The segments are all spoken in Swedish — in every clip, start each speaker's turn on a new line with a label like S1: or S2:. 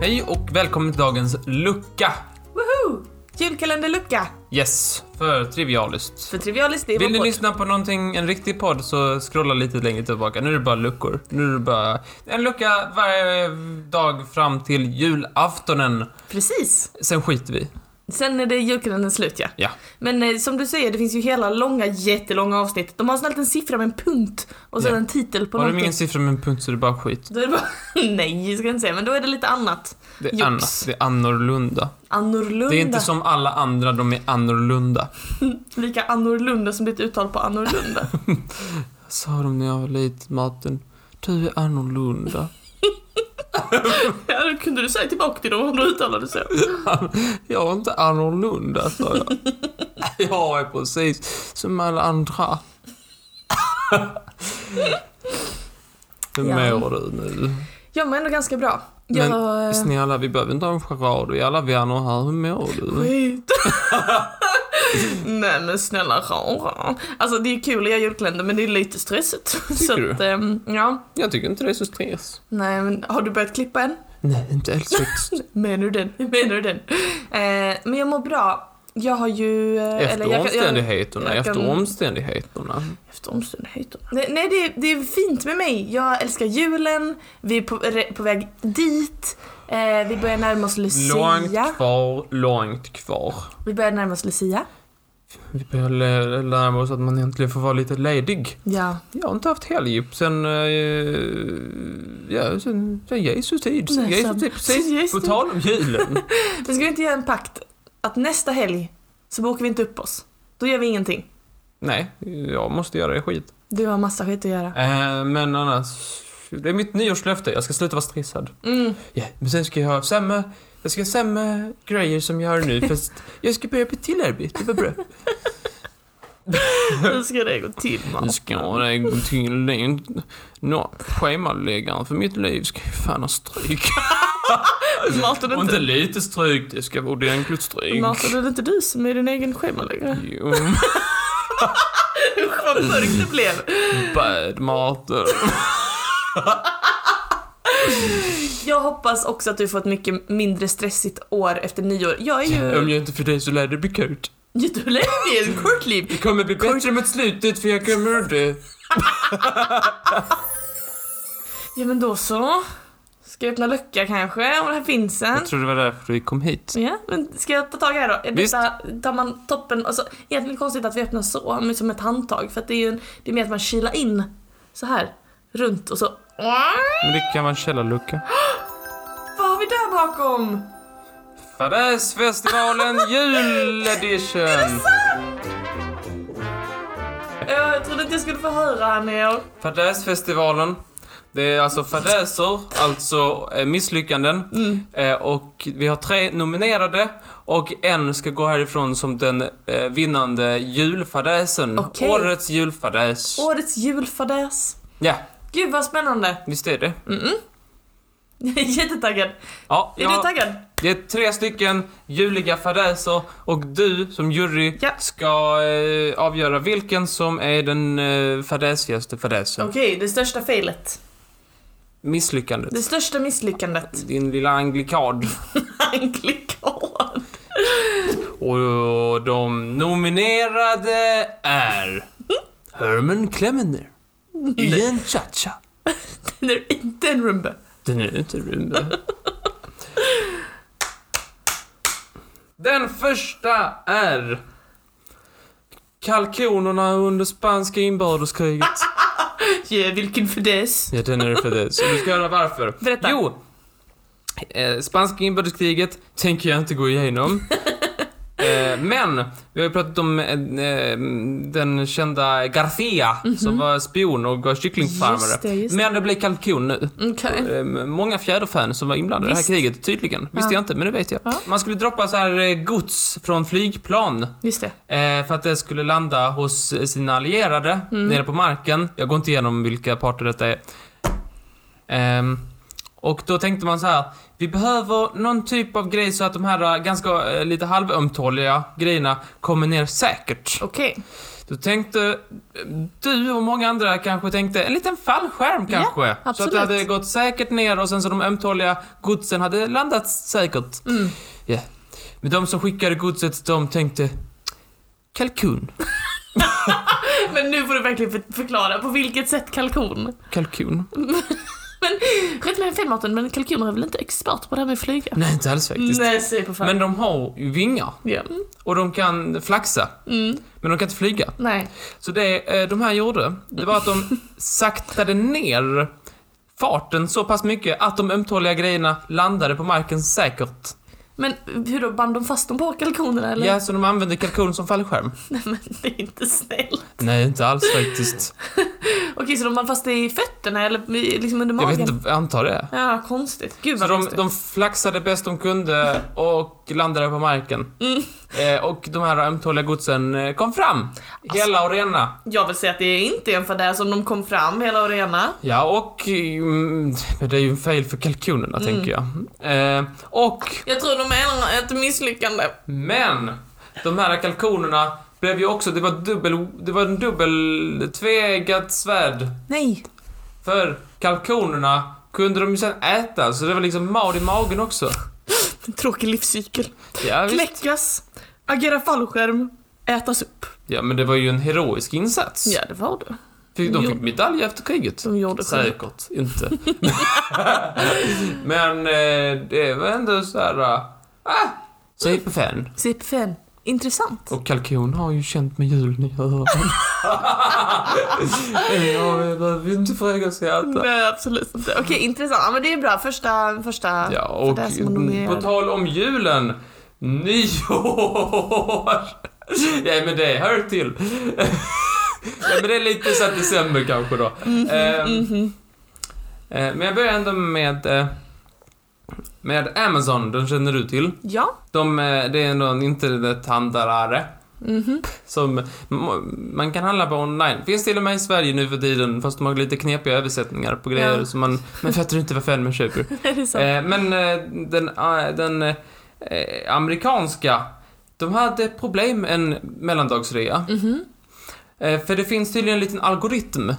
S1: Hej och välkommen till dagens lucka.
S2: Woho! Julkalenderlucka!
S1: Yes, för trivialist.
S2: För Trivialist det är
S1: Vill
S2: vår
S1: ni
S2: podd.
S1: lyssna på någonting, en riktig podd så scrolla lite längre tillbaka. Nu är det bara luckor. Nu är det bara en lucka varje dag fram till julaftonen.
S2: Precis!
S1: Sen skiter vi.
S2: Sen är det julkalendern slut ja.
S1: Ja.
S2: Men eh, som du säger, det finns ju hela långa, jättelånga avsnitt. De har snällt en siffra med en punkt och sen
S1: Ja.
S2: en titel på
S1: Har de
S2: någonting.
S1: ingen siffra med en punkt så är det bara skit.
S2: Då är det bara, nej, jag ska jag inte säga, men då är det lite annat.
S1: Det är,
S2: Jops.
S1: annat. Det är annorlunda.
S2: Annorlunda.
S1: Det är inte som alla andra, de är annorlunda.
S2: Lika annorlunda som ditt uttal på annorlunda.
S1: Sa de när jag var liten, Martin. Du är annorlunda.
S2: ja, då kunde du säga tillbaka till dem om du uttalade så.
S1: Jag är inte annorlunda, sa jag. Jag är precis som alla andra. Hur
S2: Ja.
S1: mår du nu?
S2: Jag mår ändå ganska bra. Jag... eh,
S1: Men- Snälla, vi behöver inte ha en charad och alla vänner här. Hur mår du?
S2: Skit. Nej men snälla rara. Alltså det är kul att göra julkalender men det är lite stressigt. så
S1: du?
S2: att, ehm, ja.
S1: Jag tycker inte det är så stress.
S2: Nej men har du börjat klippa än?
S1: Nej, inte alls faktiskt.
S2: Menar du den? Menar du den? Eh, men jag mår bra. Jag har ju... eh,
S1: Efter
S2: jag,
S1: omständigheterna,
S2: jag kan-
S1: efter omständigheterna.
S2: efter omständigheterna. Nej, nej det, är, det är fint med mig. Jag älskar julen, vi är på, re- på väg dit. Eh, vi börjar närma oss Lucia.
S1: Långt kvar, långt kvar.
S2: Vi börjar närma oss Lucia.
S1: Vi börjar lä- lära oss att man egentligen får vara lite ledig.
S2: Ja.
S1: Jag har inte haft helg sen, eh, ja, sen, sen Jesu tid. Sen
S2: Nej,
S1: Jesu
S2: sen-
S1: tid,
S2: sen
S1: precis.
S2: Jesu
S1: På
S2: tid.
S1: tal om julen.
S2: Men ska vi inte göra en pakt? Att nästa helg så bokar vi inte upp oss. Då gör vi ingenting.
S1: Nej, jag måste göra det skit.
S2: Du har massa skit att göra.
S1: Eh, men annars, det är mitt nyårslöfte. Jag ska sluta vara stressad.
S2: Mm.
S1: Ja, Men sen ska jag ha samma, jag ska ha samma grejer som jag har nu fast jag ska börja på ett till arbete. Vad bra.
S2: Hur ska det gå till man?
S1: Nu ska det gå till. Det är inte- Nå, schemaläggaren för mitt liv ska ju fan ha stryk.
S2: Martin,
S1: Och inte
S2: inte,
S1: lite stryk, det ska vara ordentligt stryk.
S2: Martin, är det inte du som är din egen schemaläggare?
S1: Jo,
S2: Usch vad mörkt det blev.
S1: bad Martin.
S2: Jag hoppas också att du får ett mycket mindre stressigt år efter nyår. Jag är
S1: Om
S2: ju...
S1: jag inte för dig så lär det bli kort.
S2: Jättelänge i ett kort liv.
S1: Det kommer bli bättre mot slutet för jag kommer dö.
S2: Ja men då så. Ska jag öppna lucka kanske? Om det här finns en.
S1: Jag tror det var därför vi kom hit.
S2: Ja, men ska jag ta tag i det här då? Är
S1: Visst.
S2: Detta, tar man toppen, alltså egentligen konstigt att vi öppnar så, men som ett handtag. För att det är ju en, det är mer att man kilar in så här runt och så.
S1: Men det kan vara en källarlucka.
S2: Vad har vi där bakom?
S1: Fadäsfestivalen jul edition!
S2: Eh, Jag trodde inte jag skulle få höra här nere.
S1: Fadäsfestivalen. Det är alltså fadäser, alltså eh, misslyckanden.
S2: Mm.
S1: Eh, Och vi har tre nominerade och en ska gå härifrån som den eh, vinnande julfadäsen.
S2: Okej.
S1: Årets julfadäs.
S2: Årets julfadäs.
S1: Ja,
S2: Gud vad spännande.
S1: visst är det.
S2: Jag är jättetaggad.
S1: Ja,
S2: Är
S1: jag-
S2: du taggad?
S1: Det är tre stycken juliga fadäser och du som jury
S2: Ja.
S1: ska eh, avgöra vilken som är den eh, fadäsigaste fadäsen.
S2: Okej, det största felet.
S1: Misslyckandet.
S2: Det största misslyckandet.
S1: Din lilla anglikad.
S2: Anglikan.
S1: Och de nominerade är Herman Clemener i en cha-cha.
S2: Den är inte en rumba.
S1: Den är inte rymd. Den första är Kalkonerna under spanska inbördeskriget.
S2: Ja, vilken fadäs.
S1: Ja, den är det för dig. Så du ska höra varför.
S2: Berätta.
S1: Jo! Eh, spanska inbördeskriget tänker jag inte gå igenom. Eh, Men, vi har ju pratat om eh, eh, den kända Garcia som var spion och var kycklingfarmare.
S2: Mhm. Just det, just det.
S1: Men det blev kalkon nu.
S2: Okej.
S1: Eh, Många fjäderfän som var inblandade i det här
S2: Visst.
S1: kriget, tydligen. Visste
S2: Ja.
S1: jag inte, men det vet jag.
S2: Ja.
S1: Man skulle droppa så här eh, gods från flygplan
S2: Just det.
S1: eh, för att det skulle landa hos eh, sina allierade
S2: Mm.
S1: nere på marken. Jag går inte igenom vilka parter detta är. Ehm, och då tänkte man så här, vi behöver någon typ av grej så att de här eh, ganska eh, lite halvömtåliga grejerna kommer ner säkert.
S2: Okej.
S1: Då tänkte du och många andra kanske tänkte en liten fallskärm kanske. så att
S2: absolut.
S1: det hade gått säkert ner och sen så de ömtåliga godsen hade landat säkert.
S2: Mm.
S1: Ja. Men de som skickade godset, de tänkte kalkun,
S2: Men nu får du verkligen för- förklara, på vilket sätt kalkon?
S1: kalkun.
S2: Skit med den felmaten, men kalkoner är väl inte expert på det här med att flyga?
S1: Nej, inte alls faktiskt.
S2: Nej, säg på fan.
S1: Men de har ju vingar
S2: Ja.
S1: och de kan flaxa,
S2: Mm.
S1: men de kan inte flyga.
S2: Nej.
S1: Så det eh, de här gjorde, det var att de saktade ner farten så pass mycket att de ömtåliga grejerna landade på marken säkert.
S2: Men hur då, band de fast dem på kalkonerna eller?
S1: Ja, så de använde kalkon som fallskärm.
S2: Nej men det är inte snällt.
S1: Nej, inte alls faktiskt.
S2: Okej, så de band fast det i fötterna eller i- liksom under
S1: Jag
S2: magen?
S1: vet inte, jag antar det.
S2: Ja, konstigt. Gud
S1: Så
S2: vad
S1: de,
S2: konstigt.
S1: de flaxade bäst de kunde och landade på marken.
S2: Mm.
S1: Eh, och de här ömtåliga godsen eh, kom fram.
S2: Alltså.
S1: Hela och rena.
S2: Jag vill säga att det är inte en fadäs som de kom fram hela och rena.
S1: Ja, och... Mm, det är ju en fail för kalkonerna,
S2: Mm.
S1: tänker jag. Eh, och
S2: Jag tror de menar ett misslyckande.
S1: Men! De här kalkonerna blev ju också, det var dubbel, det var en dubbel tveeggat svärd.
S2: Nej.
S1: För kalkonerna kunde de ju sen äta, så det var liksom mat i magen också.
S2: En tråkig livscykel.
S1: Ja, visst.
S2: Kläckas, agera fallskärm, ätas upp.
S1: ja, men det var ju en heroisk insats.
S2: Ja, det var det.
S1: Fick, de
S2: Jo.
S1: fick medalj efter kriget.
S2: De gjorde själv.
S1: Säkert inte. men eh, det var ändå så här... eh, Ah, säg på fan.
S2: Sipp fan. Typ Intressant.
S1: Och kalkon har ju känt med julen i öronen. ja, vi behöver inte fråga oss i hjärta.
S2: Nej, absolut inte. Mm. Okej, intressant. Ja, men det är bra. Första... första...
S1: Ja, och
S2: det är som de är-
S1: på tal om julen, nyår! Ja, men det hör till. ja, men det är lite så att december kanske då.
S2: Mm,
S1: Eh,
S2: Mm-hmm.
S1: eh, Men jag börjar ändå med, eh, med Amazon, den känner du till.
S2: Ja.
S1: De, eh, det är ändå en internethandlare.
S2: Mhm.
S1: Som m- man kan handla på online. Finns till och med i Sverige nu för tiden, fast de har lite knepiga översättningar på grejer
S2: Ja.
S1: som man, man fattar inte vad fan man köper.
S2: Är det sant?
S1: Eh, men eh, den, eh, den eh, eh, amerikanska, de hade problem en mellandagsrea.
S2: Mhm.
S1: Eh, för det finns tydligen en liten algoritm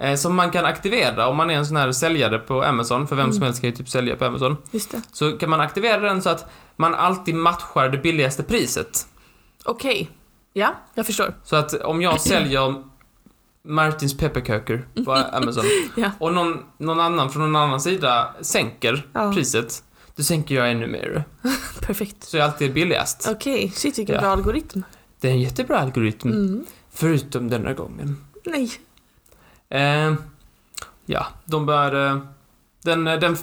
S1: eh, som man kan aktivera om man är en sån här säljare på Amazon, för vem
S2: Mm.
S1: som helst kan ju typ sälja på Amazon.
S2: Just det.
S1: Så kan man aktivera den så att man alltid matchar det billigaste priset.
S2: Okej. Ja, jag förstår.
S1: Så att om jag säljer Martins pepparköker på Amazon
S2: Ja.
S1: och någon, någon annan från någon annan sida sänker
S2: Ja.
S1: priset, då sänker jag ännu mer.
S2: Perfekt.
S1: Så jag alltid är billigast.
S2: Okej, shit vilken
S1: Ja.
S2: bra algoritm.
S1: Det är en jättebra algoritm,
S2: Mm.
S1: förutom denna gången.
S2: Nej.
S1: Eh, ja, de började... Den, eh, den,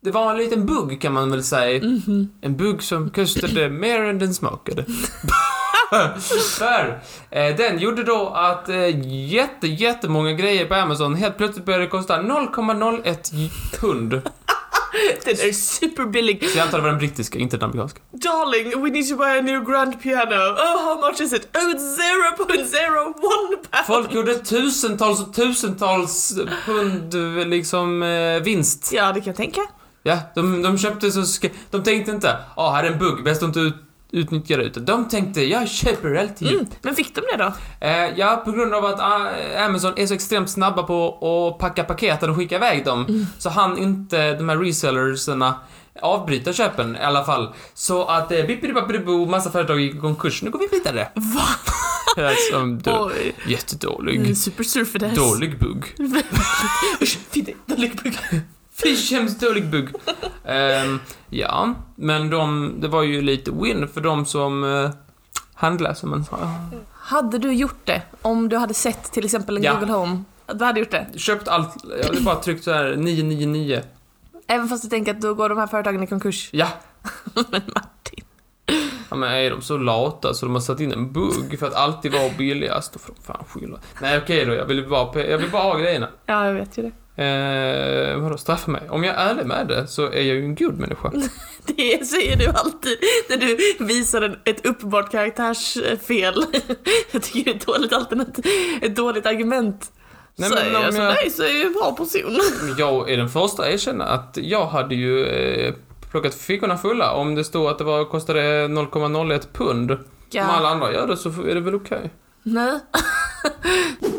S1: det var en liten bugg kan man väl säga.
S2: Mhm.
S1: En bugg som kostade mer än den smakade. För eh, den gjorde då att eh, jätte, jättemånga grejer på Amazon helt plötsligt började kosta 0,01 pund.
S2: Den är superbillig.
S1: Så jag antar det var den brittiska, inte den amerikanska.
S2: Darling, we need to buy a new grand piano. Oh, how much is it? Oh, it's 0.01 pound.
S1: Folk gjorde tusentals och tusentals pund eh, liksom eh, vinst.
S2: Ja, det kan jag tänka.
S1: Ja, de, de köpte så ska, De tänkte inte ah, här är en bugg, bäst att inte ut, utnyttja det. Utan de tänkte jag köper alltid.
S2: Mm. Men fick de det då?
S1: Eh, ja, på grund av att ah, Amazon är så extremt snabba på att packa paketen och skicka iväg dem så han inte de här resellerserna avbryta köpen i alla fall. Så att eh, bippidi-bappidi-bo, massa företag gick i konkurs. Nu går vi vidare. Va? Som du.
S2: Oj,
S1: Jättedålig.
S2: mm, supersurfadess.
S1: Dålig bugg.
S2: Usch, fy, det är Dålig bugg.
S1: Fy, hemskt dålig bugg. Ehm, ja, men de, det var ju lite win för de som eh, handlar som man sa.
S2: Hade du gjort det om du hade sett till exempel en
S1: Ja.
S2: Google Home? Att Du hade gjort det?
S1: Köpt allt, jag hade bara tryckt så här 999.
S2: Även fast du tänker att då går de här företagen i konkurs?
S1: Ja,
S2: Men Martin.
S1: Ja, men är de så lata så de har satt in en bugg för att alltid vara billigast? Då får de fan skylla. Nej okej då, jag vill bara, pe- jag vill bara ha grejerna.
S2: Ja, jag vet ju det.
S1: Eh, vadå, straffa mig? Om jag är ärlig med det så är jag ju en god människa.
S2: Det säger du alltid när du visar en, ett uppenbart karaktärsfel. Jag tycker det är ett dåligt alternativ, ett dåligt argument.
S1: Nej, men
S2: säger jag
S1: om
S2: så,
S1: jag-
S2: nej så är jag en bra person.
S1: Men Jag är den första att erkänna att jag hade ju eh, plockat fickorna fulla om det stod att det var, kostade 0,01 pund. Om alla andra gör det så är det väl okej.
S2: Nej.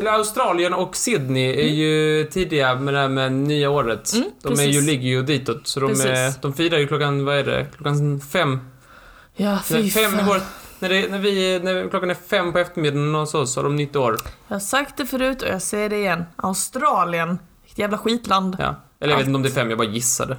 S1: Australien och Sydney är ju tidiga med det här med nya året.
S2: Mm,
S1: de är
S2: precis.
S1: ju, ligger ju ditåt, så de,
S2: Precis.
S1: är, de firar ju klockan, vad är det, klockan fem?
S2: Ja,
S1: Nej,
S2: fy
S1: fem i
S2: fan.
S1: vår, när, det, när, vi, när klockan är fem på eftermiddagen hos oss har de nytt år.
S2: Jag har sagt det förut och jag säger det igen. Australien. Vilket jävla skitland.
S1: Ja. Eller jag vet inte om det är fem, jag bara gissade.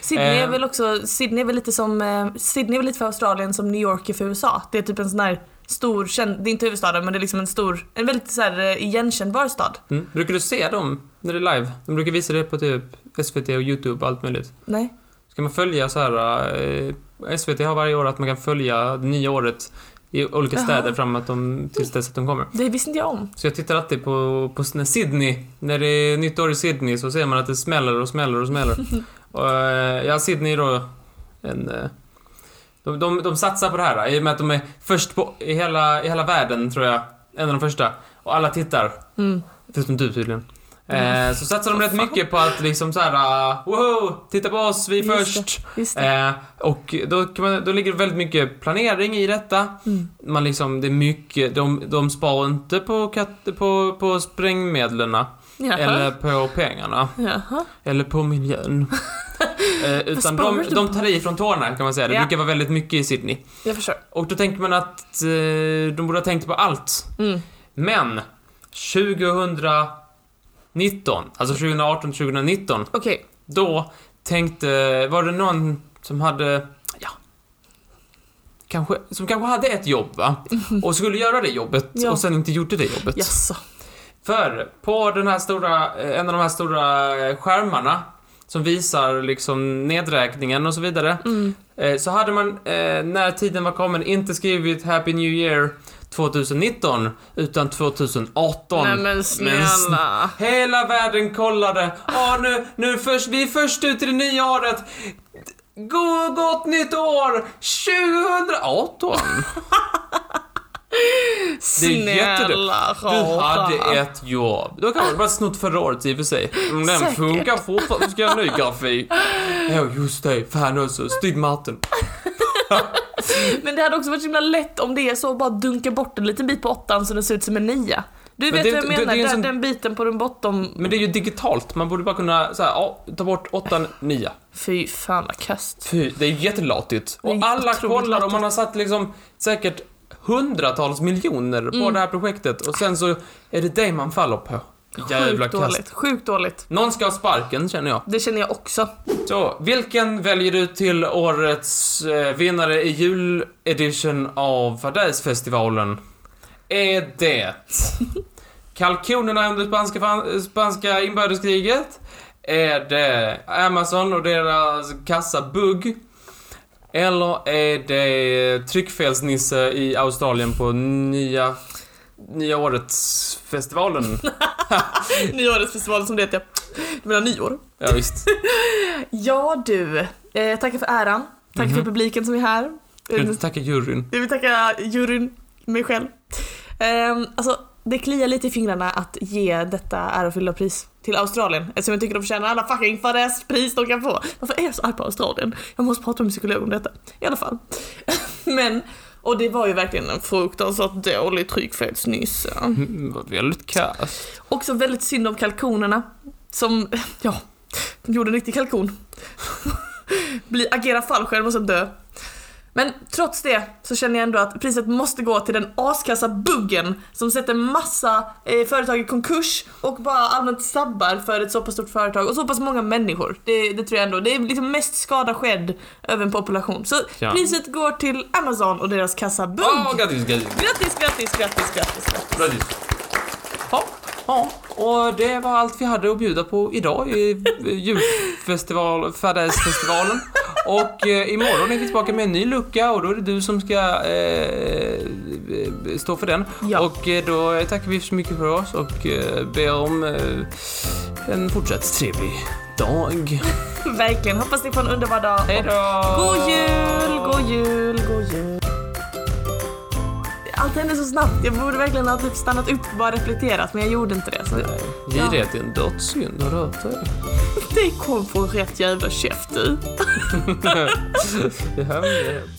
S2: Sydney är
S1: Eh.
S2: väl också, Sydney är väl lite som, eh, Sydney är väl lite för Australien som New York är för USA. Det är typ en sån här stor, känd, det är inte huvudstaden men det är liksom en stor, en väldigt så här eh, igenkännbar stad.
S1: Mm. Brukar du se dem när det är live? De brukar visa det på typ SVT och YouTube och allt möjligt.
S2: Nej.
S1: Ska man följa så här... Eh, SVT har varje år att man kan följa det nya året i olika
S2: Jaha.
S1: städer framåt de, tills dess att de kommer.
S2: Det visste inte jag om.
S1: Så jag tittar alltid på, på när Sydney, när det är nytt år i Sydney så ser man att det smäller och smäller och smäller. och, eh, ja, Sydney är då en... eh, De, de, de satsar på det här eh, i och med att de är först på, i, hela, i hela världen tror jag, en av de första. Och alla tittar,
S2: Mm.
S1: förutom du tydligen.
S2: Mm.
S1: Eh, så satsar de rätt mycket på att liksom så här, eh, wow, titta på oss, vi är
S2: Just det.
S1: först.
S2: Just det.
S1: Eh, och då, kan man, då ligger det väldigt mycket planering i detta.
S2: Mm.
S1: Man liksom, det är mycket, de, de sparar inte på, kat, på, på sprängmedlen
S2: Jaha.
S1: eller på pengarna
S2: Jaha.
S1: eller på miljön. eh, utan
S2: sparar
S1: de,
S2: du
S1: de tar i från tårna kan man säga. Det
S2: Ja.
S1: brukar vara väldigt mycket i Sydney.
S2: Jag förstår.
S1: Och då tänker man att eh, de borde ha tänkt på allt.
S2: Mm.
S1: Men 2019, alltså 2018 2019
S2: Okej.
S1: då tänkte, var det någon som hade, ja, kanske, som kanske hade ett jobb va? Och skulle göra det jobbet
S2: Ja.
S1: och sen inte gjorde det jobbet.
S2: Jaså.
S1: För på den här stora, eh, en av de här stora eh, skärmarna som visar liksom nedräkningen och så vidare.
S2: Mm.
S1: eh, Så hade man, eh, när tiden var kommen, inte skrivit Happy New Year 2019 utan 2018.
S2: Nej men snälla.
S1: Hela världen kollade. Ja, nu, nu först, vi är först ut i det nya året. God, gott nytt år 2018. det är jättedumt.
S2: Snälla
S1: Du
S2: rara.
S1: hade ett jobb. Då kan man bara snott förra året i och för sig. Om den
S2: Säkert.
S1: funkar fortfarande ska jag ha en ny grafik. Ja, just det. Fan också. Stig Martin.
S2: Men det hade också varit så himla lätt om det är så bara dunka bort en liten bit på åttan så den ser ut som en nia. Du
S1: Men
S2: vet
S1: det-
S2: vad jag
S1: det-
S2: menar,
S1: det är en
S2: den,
S1: sån-
S2: den biten på den botten.
S1: Men det är ju digitalt. Man borde bara kunna så här, ja, ta bort åttan, nia.
S2: Fy fan vad kast.
S1: Fy, det är jättelatigt.
S2: Det är
S1: Och alla
S2: otroligt
S1: kollar och
S2: latigt.
S1: man har satt liksom säkert hundratals miljoner
S2: Mm.
S1: på det här projektet och sen så är det dig man faller på. Jävla kast.
S2: Sjukt dåligt. Sjukt dåligt.
S1: Någon ska ha sparken känner jag.
S2: Det känner jag också.
S1: Så, vilken väljer du till årets eh, vinnare i juledition av Fadäsfestivalen? Är det kalkonerna under spanska, fan- spanska inbördeskriget? Är det Amazon och deras kassabugg? Eller är det tryckfelsnisse i Australien på nya, nya årets festivalen?
S2: Nyårets festival som det heter ja. Du menar nyår?
S1: Ja, visst.
S2: Ja du. Eh, tackar för äran. Tack för
S1: Mhm. Mm.
S2: publiken som är här.
S1: Ska du inte tacka juryn?
S2: Jag vill tacka juryn, mig själv. Um, alltså, det kliar lite i fingrarna att ge detta ärofulla pris till Australien eftersom jag tycker de förtjänar alla fucking Fadäs-pris de kan få. Varför är jag så arg på Australien? Jag måste prata med en psykolog om detta. I alla fall. Men, och det var ju verkligen en fruktansvärt dålig tryckfelsnisse.
S1: Mm, vad väldigt kass.
S2: Också väldigt synd om kalkonerna som, ja, gjorde en riktig kalkon. Bli, agera fallskärm och sen dö. Men trots det så känner jag ändå att priset måste gå till den askassa buggen som sätter massa eh, företag i konkurs och bara allmänt sabbar för ett så pass stort företag och så pass många människor. Det, det tror jag ändå. Det är liksom mest skada skedd över en population. Så
S1: Ja.
S2: priset går till Amazon och deras kassa bugg.
S1: Åh, grattis, grattis.
S2: Grattis, grattis, grattis, grattis, grattis.
S1: Ja, ja, och det var allt vi hade att bjuda på idag i julfestival, Fadäsfestivalen. Och eh, imorgon är vi tillbaka med en ny lucka och då är det du som ska eh, stå för den.
S2: Ja.
S1: Och eh, då tackar vi så mycket för oss och eh, ber om eh, en fortsatt trevlig dag.
S2: Verkligen. Hoppas ni får en underbar dag.
S1: Hej då!
S2: God jul, god jul, god jul. Allt hände så snabbt. Jag borde verkligen ha typ stannat upp och bara reflekterat, men jag gjorde inte det. Så
S1: Girighet är en dödssynd, har du hört det?
S2: det kom från rätt jävla käft du.
S1: Det här är-